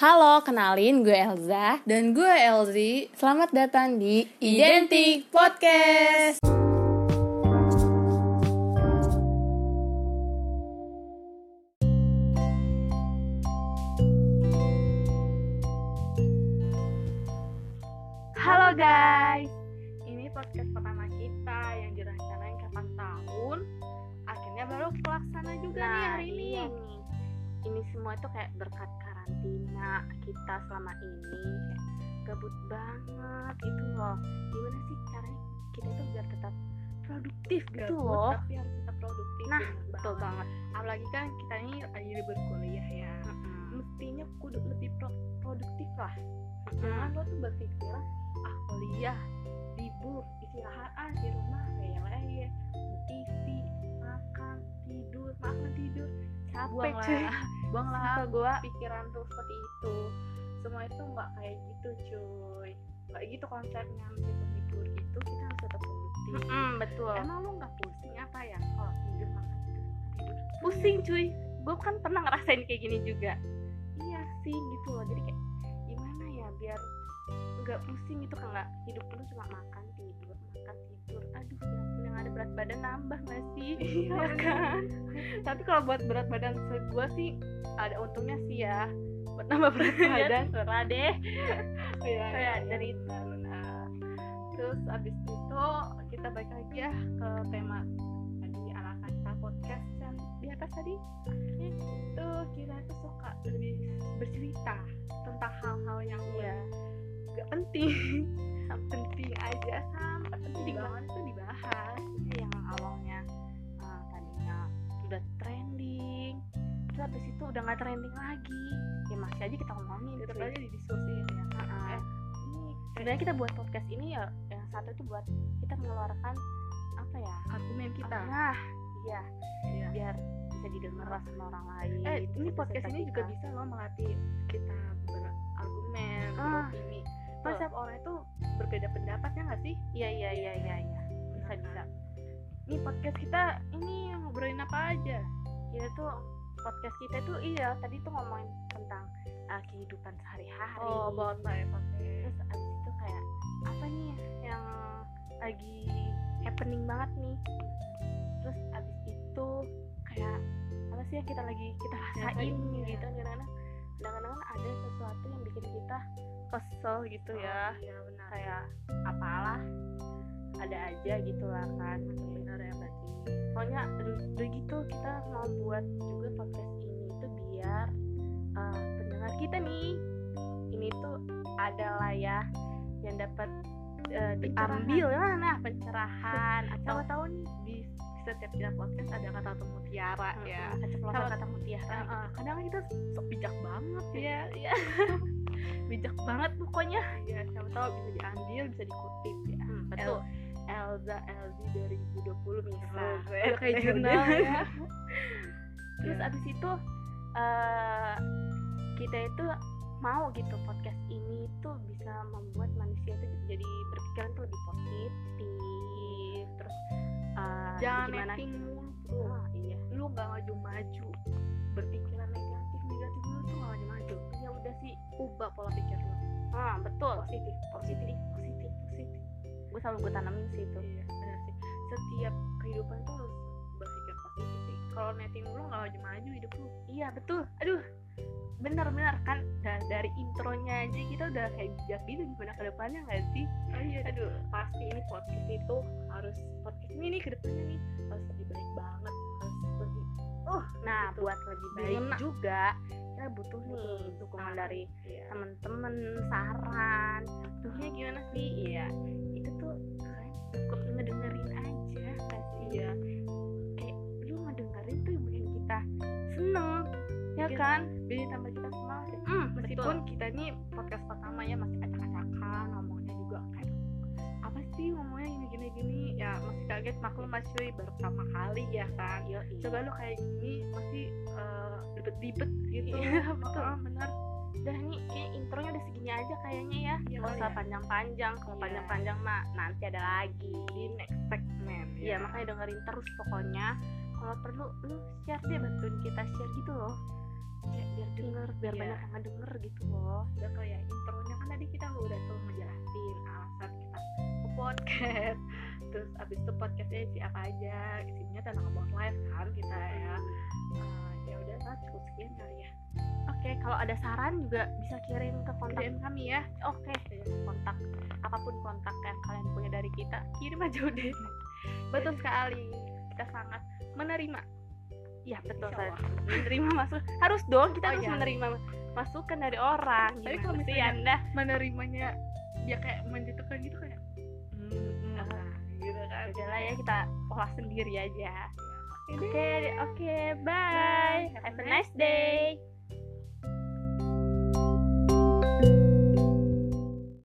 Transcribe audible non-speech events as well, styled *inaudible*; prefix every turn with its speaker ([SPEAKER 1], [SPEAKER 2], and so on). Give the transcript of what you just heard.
[SPEAKER 1] Halo, kenalin gue Elza.
[SPEAKER 2] Dan gue Elzi
[SPEAKER 1] Selamat datang di
[SPEAKER 2] Identik Podcast
[SPEAKER 3] Halo guys, ini podcast pertama kita yang direncanain kapan tahun, akhirnya baru terlaksana juga
[SPEAKER 2] Nah,
[SPEAKER 3] nih hari ini.
[SPEAKER 4] iya nih. Ini semua tuh kayak berkat karantina kita selama ini kayak gabut banget itu loh. Gimana sih caranya kita tuh biar tetap produktif gitu
[SPEAKER 3] Gabut,
[SPEAKER 4] loh.
[SPEAKER 3] tapi harus tetap produktif.
[SPEAKER 4] Nah,
[SPEAKER 3] bener
[SPEAKER 4] Betul
[SPEAKER 3] banget.
[SPEAKER 4] banget.
[SPEAKER 3] Apalagi kan kita ini lagi berkuliah ya, mestinya kudu lebih pro- produktif lah. Jangan lo tuh berpikir ah kuliah libur istirahat ah di rumah lele TV iya. makan tidur makan tidur
[SPEAKER 4] Capek
[SPEAKER 3] buanglah
[SPEAKER 4] cuy.
[SPEAKER 3] buanglah
[SPEAKER 4] Sumpah gua
[SPEAKER 3] pikiran tuh seperti itu semua itu nggak kayak gitu cuy nggak gitu konsepnya meskipun tidur itu kita harus tetap produktif
[SPEAKER 4] Mm-mm, betul.
[SPEAKER 3] emang lu nggak pusing apa ya kalau tidur makan tidur makan tidur
[SPEAKER 4] pusing cuy. Gue kan pernah ngerasain kayak gini
[SPEAKER 3] *laughs*
[SPEAKER 4] juga.
[SPEAKER 3] iya sih gitu loh jadi kayak gimana ya biar gitu,
[SPEAKER 4] Nggak pusing itu kan nggak hidup lu cuma makan tidur makan tidur. Aduh, ya ampun yang ada berat badan nambah nggak sih?
[SPEAKER 3] iya kan tapi kalau buat berat badan gue sih ada untungnya sih ya buat nambah berat badan
[SPEAKER 4] Badan serah Iya deh.
[SPEAKER 3] Oh iya,
[SPEAKER 4] Oh
[SPEAKER 3] iya,
[SPEAKER 4] iya,
[SPEAKER 3] dari ah,
[SPEAKER 4] dari
[SPEAKER 3] terus abis itu kita balik lagi ya ke tema tadi anak kita podcast yang di atas tadi itu kita tuh suka lebih bercerita tentang hal-hal yang
[SPEAKER 4] Iya.
[SPEAKER 3] gak penting *laughs* penting aja sampai penting banget tuh dibahas
[SPEAKER 4] Iya. yang awalnya uh, tadinya udah trending terus habis itu udah nggak trending lagi ya masih aja kita ngomongin
[SPEAKER 3] tetap
[SPEAKER 4] cuy.
[SPEAKER 3] aja didiskusin ya
[SPEAKER 4] Heeh.
[SPEAKER 3] eh,
[SPEAKER 4] Nah, sebenarnya kita buat podcast ini ya yang satu itu buat kita mengeluarkan apa ya
[SPEAKER 3] argumen kita
[SPEAKER 4] nah iya
[SPEAKER 3] Iya.
[SPEAKER 4] biar bisa didengar lah sama orang lain
[SPEAKER 3] eh ini
[SPEAKER 4] terus
[SPEAKER 3] podcast
[SPEAKER 4] cerita
[SPEAKER 3] ini
[SPEAKER 4] gitu.
[SPEAKER 3] juga
[SPEAKER 4] kita.
[SPEAKER 3] bisa loh melatih kita berargumen
[SPEAKER 4] Ah,
[SPEAKER 3] beropini
[SPEAKER 4] betul.
[SPEAKER 3] pas setiap orang itu berbeda pendapatnya nggak sih
[SPEAKER 4] iya iya iya iya iya bisa bisa
[SPEAKER 3] ini podcast kita ini ngobrolin apa aja
[SPEAKER 4] kita tuh podcast kita tuh iya tadi tuh ngomongin tentang uh, kehidupan sehari-hari
[SPEAKER 3] about life Oh, oke
[SPEAKER 4] terus abis itu kayak apa nih yang lagi happening banget nih terus abis itu kayak apa sih yang kita lagi kita rasain
[SPEAKER 3] Rasain,
[SPEAKER 4] gitu kadang-kadang kadang-kadang ada sesuatu yang bikin kita kesel gitu ya
[SPEAKER 3] iya benar
[SPEAKER 4] kayak apalah ada aja gitu lah kan benar ya berarti soalnya udah udah gitu kita mau buat juga podcast ini tuh biar uh, pendengar kita nih ini tuh adalah ya yang dapat uh, diambil nah, nah, pencerahan atau
[SPEAKER 3] tahu-tahu nih di setiap kita podcast ada kata atau mutiara
[SPEAKER 4] ya
[SPEAKER 3] ya
[SPEAKER 4] keceplosan
[SPEAKER 3] Sama-
[SPEAKER 4] kata mutiara gitu.
[SPEAKER 3] Nah, eh, kadang kita sok bijak banget ya
[SPEAKER 4] Iya, iya. bijak banget pokoknya
[SPEAKER 3] ya siapa tahu bisa diambil bisa dikutip ya
[SPEAKER 4] Hmm, betul
[SPEAKER 3] Elza Elzi 2020
[SPEAKER 4] Nah,
[SPEAKER 3] misalnya
[SPEAKER 4] udah
[SPEAKER 3] *laughs*
[SPEAKER 4] kayak jurnal ya. Terus
[SPEAKER 3] Iya.
[SPEAKER 4] abis itu eh, kita itu mau gitu podcast ini tuh bisa membuat manusia itu jadi berpikiran tuh lebih positif. Terus eh,
[SPEAKER 3] jangan
[SPEAKER 4] gimana?
[SPEAKER 3] netting mulu bro
[SPEAKER 4] Ah, iya.
[SPEAKER 3] lu gak maju-maju berpikiran negatif negatif lu tuh gak maju-maju
[SPEAKER 4] Ya udah sih.
[SPEAKER 3] ubah pola pikir lu
[SPEAKER 4] Ah, betul.
[SPEAKER 3] positif
[SPEAKER 4] Positif, positif, positif. Gue selalu gue tanamin sih itu.
[SPEAKER 3] iya benar sih setiap kehidupan tuh harus berpikir positif sih kalau netting lu gak maju-maju hidup lu
[SPEAKER 4] Iya, betul. Aduh. Bener-bener kan da- dari intronya aja kita udah kayak bijak gitu gimana ke depannya gak sih?
[SPEAKER 3] oh iya
[SPEAKER 4] Aduh,
[SPEAKER 3] pasti ini podcast itu harus podcast ini nih kedepannya nih harus lebih baik banget harus lebih
[SPEAKER 4] Nah,
[SPEAKER 3] Gitu.
[SPEAKER 4] buat lebih baik
[SPEAKER 3] Dimana?
[SPEAKER 4] juga kita butuh nih
[SPEAKER 3] Butuh
[SPEAKER 4] dukungan
[SPEAKER 3] saran.
[SPEAKER 4] dari
[SPEAKER 3] iya
[SPEAKER 4] temen-temen saran. Duhnya gimana sih? Iya, itu tuh kalian cukup ngedengerin aja nggak sih.
[SPEAKER 3] iya
[SPEAKER 4] Kayak lu ngedengerin tuh yang bikin kita seneng, ya
[SPEAKER 3] Bikin-
[SPEAKER 4] kan?
[SPEAKER 3] jadi tambah kita semangat ya.
[SPEAKER 4] Hmm,
[SPEAKER 3] meskipun kita ini podcast pertama ya masih acak-acakan ngomongnya juga kayak apa sih ngomongnya gini gini gini ya masih kaget maklum mas cuy baru pertama kali ya kan
[SPEAKER 4] Yo,
[SPEAKER 3] coba lu kayak gini masih eh, ribet-ribet gitu *laughs*
[SPEAKER 4] Iya, betul.
[SPEAKER 3] Heeh, bener
[SPEAKER 4] udah nih kayak intronya udah segini aja kayaknya ya.
[SPEAKER 3] Iya
[SPEAKER 4] Nggak usah
[SPEAKER 3] kali ya.
[SPEAKER 4] panjang-panjang. Kalau
[SPEAKER 3] Iya.
[SPEAKER 4] panjang-panjang mah nanti ada lagi.
[SPEAKER 3] di next segment
[SPEAKER 4] Iya makanya dengerin terus pokoknya kalau perlu lu share deh bantuin kita share gitu loh kayak biar denger biar
[SPEAKER 3] Iya.
[SPEAKER 4] banyak yang denger gitu loh
[SPEAKER 3] kan podcast terus abis itu podcastnya isi apa aja isinya tentang about life kan kita ya Eh, ya udah lah cukup sekian kali ya
[SPEAKER 4] Oke, kalau ada saran juga bisa kirim ke kontak.
[SPEAKER 3] kerjaan kami ya
[SPEAKER 4] Oke, kontak apapun kontak yang kalian punya dari kita,
[SPEAKER 3] kirim aja udah
[SPEAKER 4] betul sekali. Kita sangat
[SPEAKER 3] menerima
[SPEAKER 4] Iya betul
[SPEAKER 3] Insya
[SPEAKER 4] San.
[SPEAKER 3] Allah.
[SPEAKER 4] Menerima masuk harus dong kita
[SPEAKER 3] Oh,
[SPEAKER 4] harus
[SPEAKER 3] iya.
[SPEAKER 4] menerima masukan dari orang.
[SPEAKER 3] Tapi
[SPEAKER 4] Gimana
[SPEAKER 3] kalau
[SPEAKER 4] sih
[SPEAKER 3] misalnya-
[SPEAKER 4] Anda?
[SPEAKER 3] menerimanya ya kayak menjatuhkan gitu kayak hmm, ah, gitu kan
[SPEAKER 4] Iya. Udahlah ya kita olah sendiri aja.
[SPEAKER 3] Iya, Oke
[SPEAKER 4] Oke
[SPEAKER 3] deh.
[SPEAKER 4] oke bye. Have a nice day.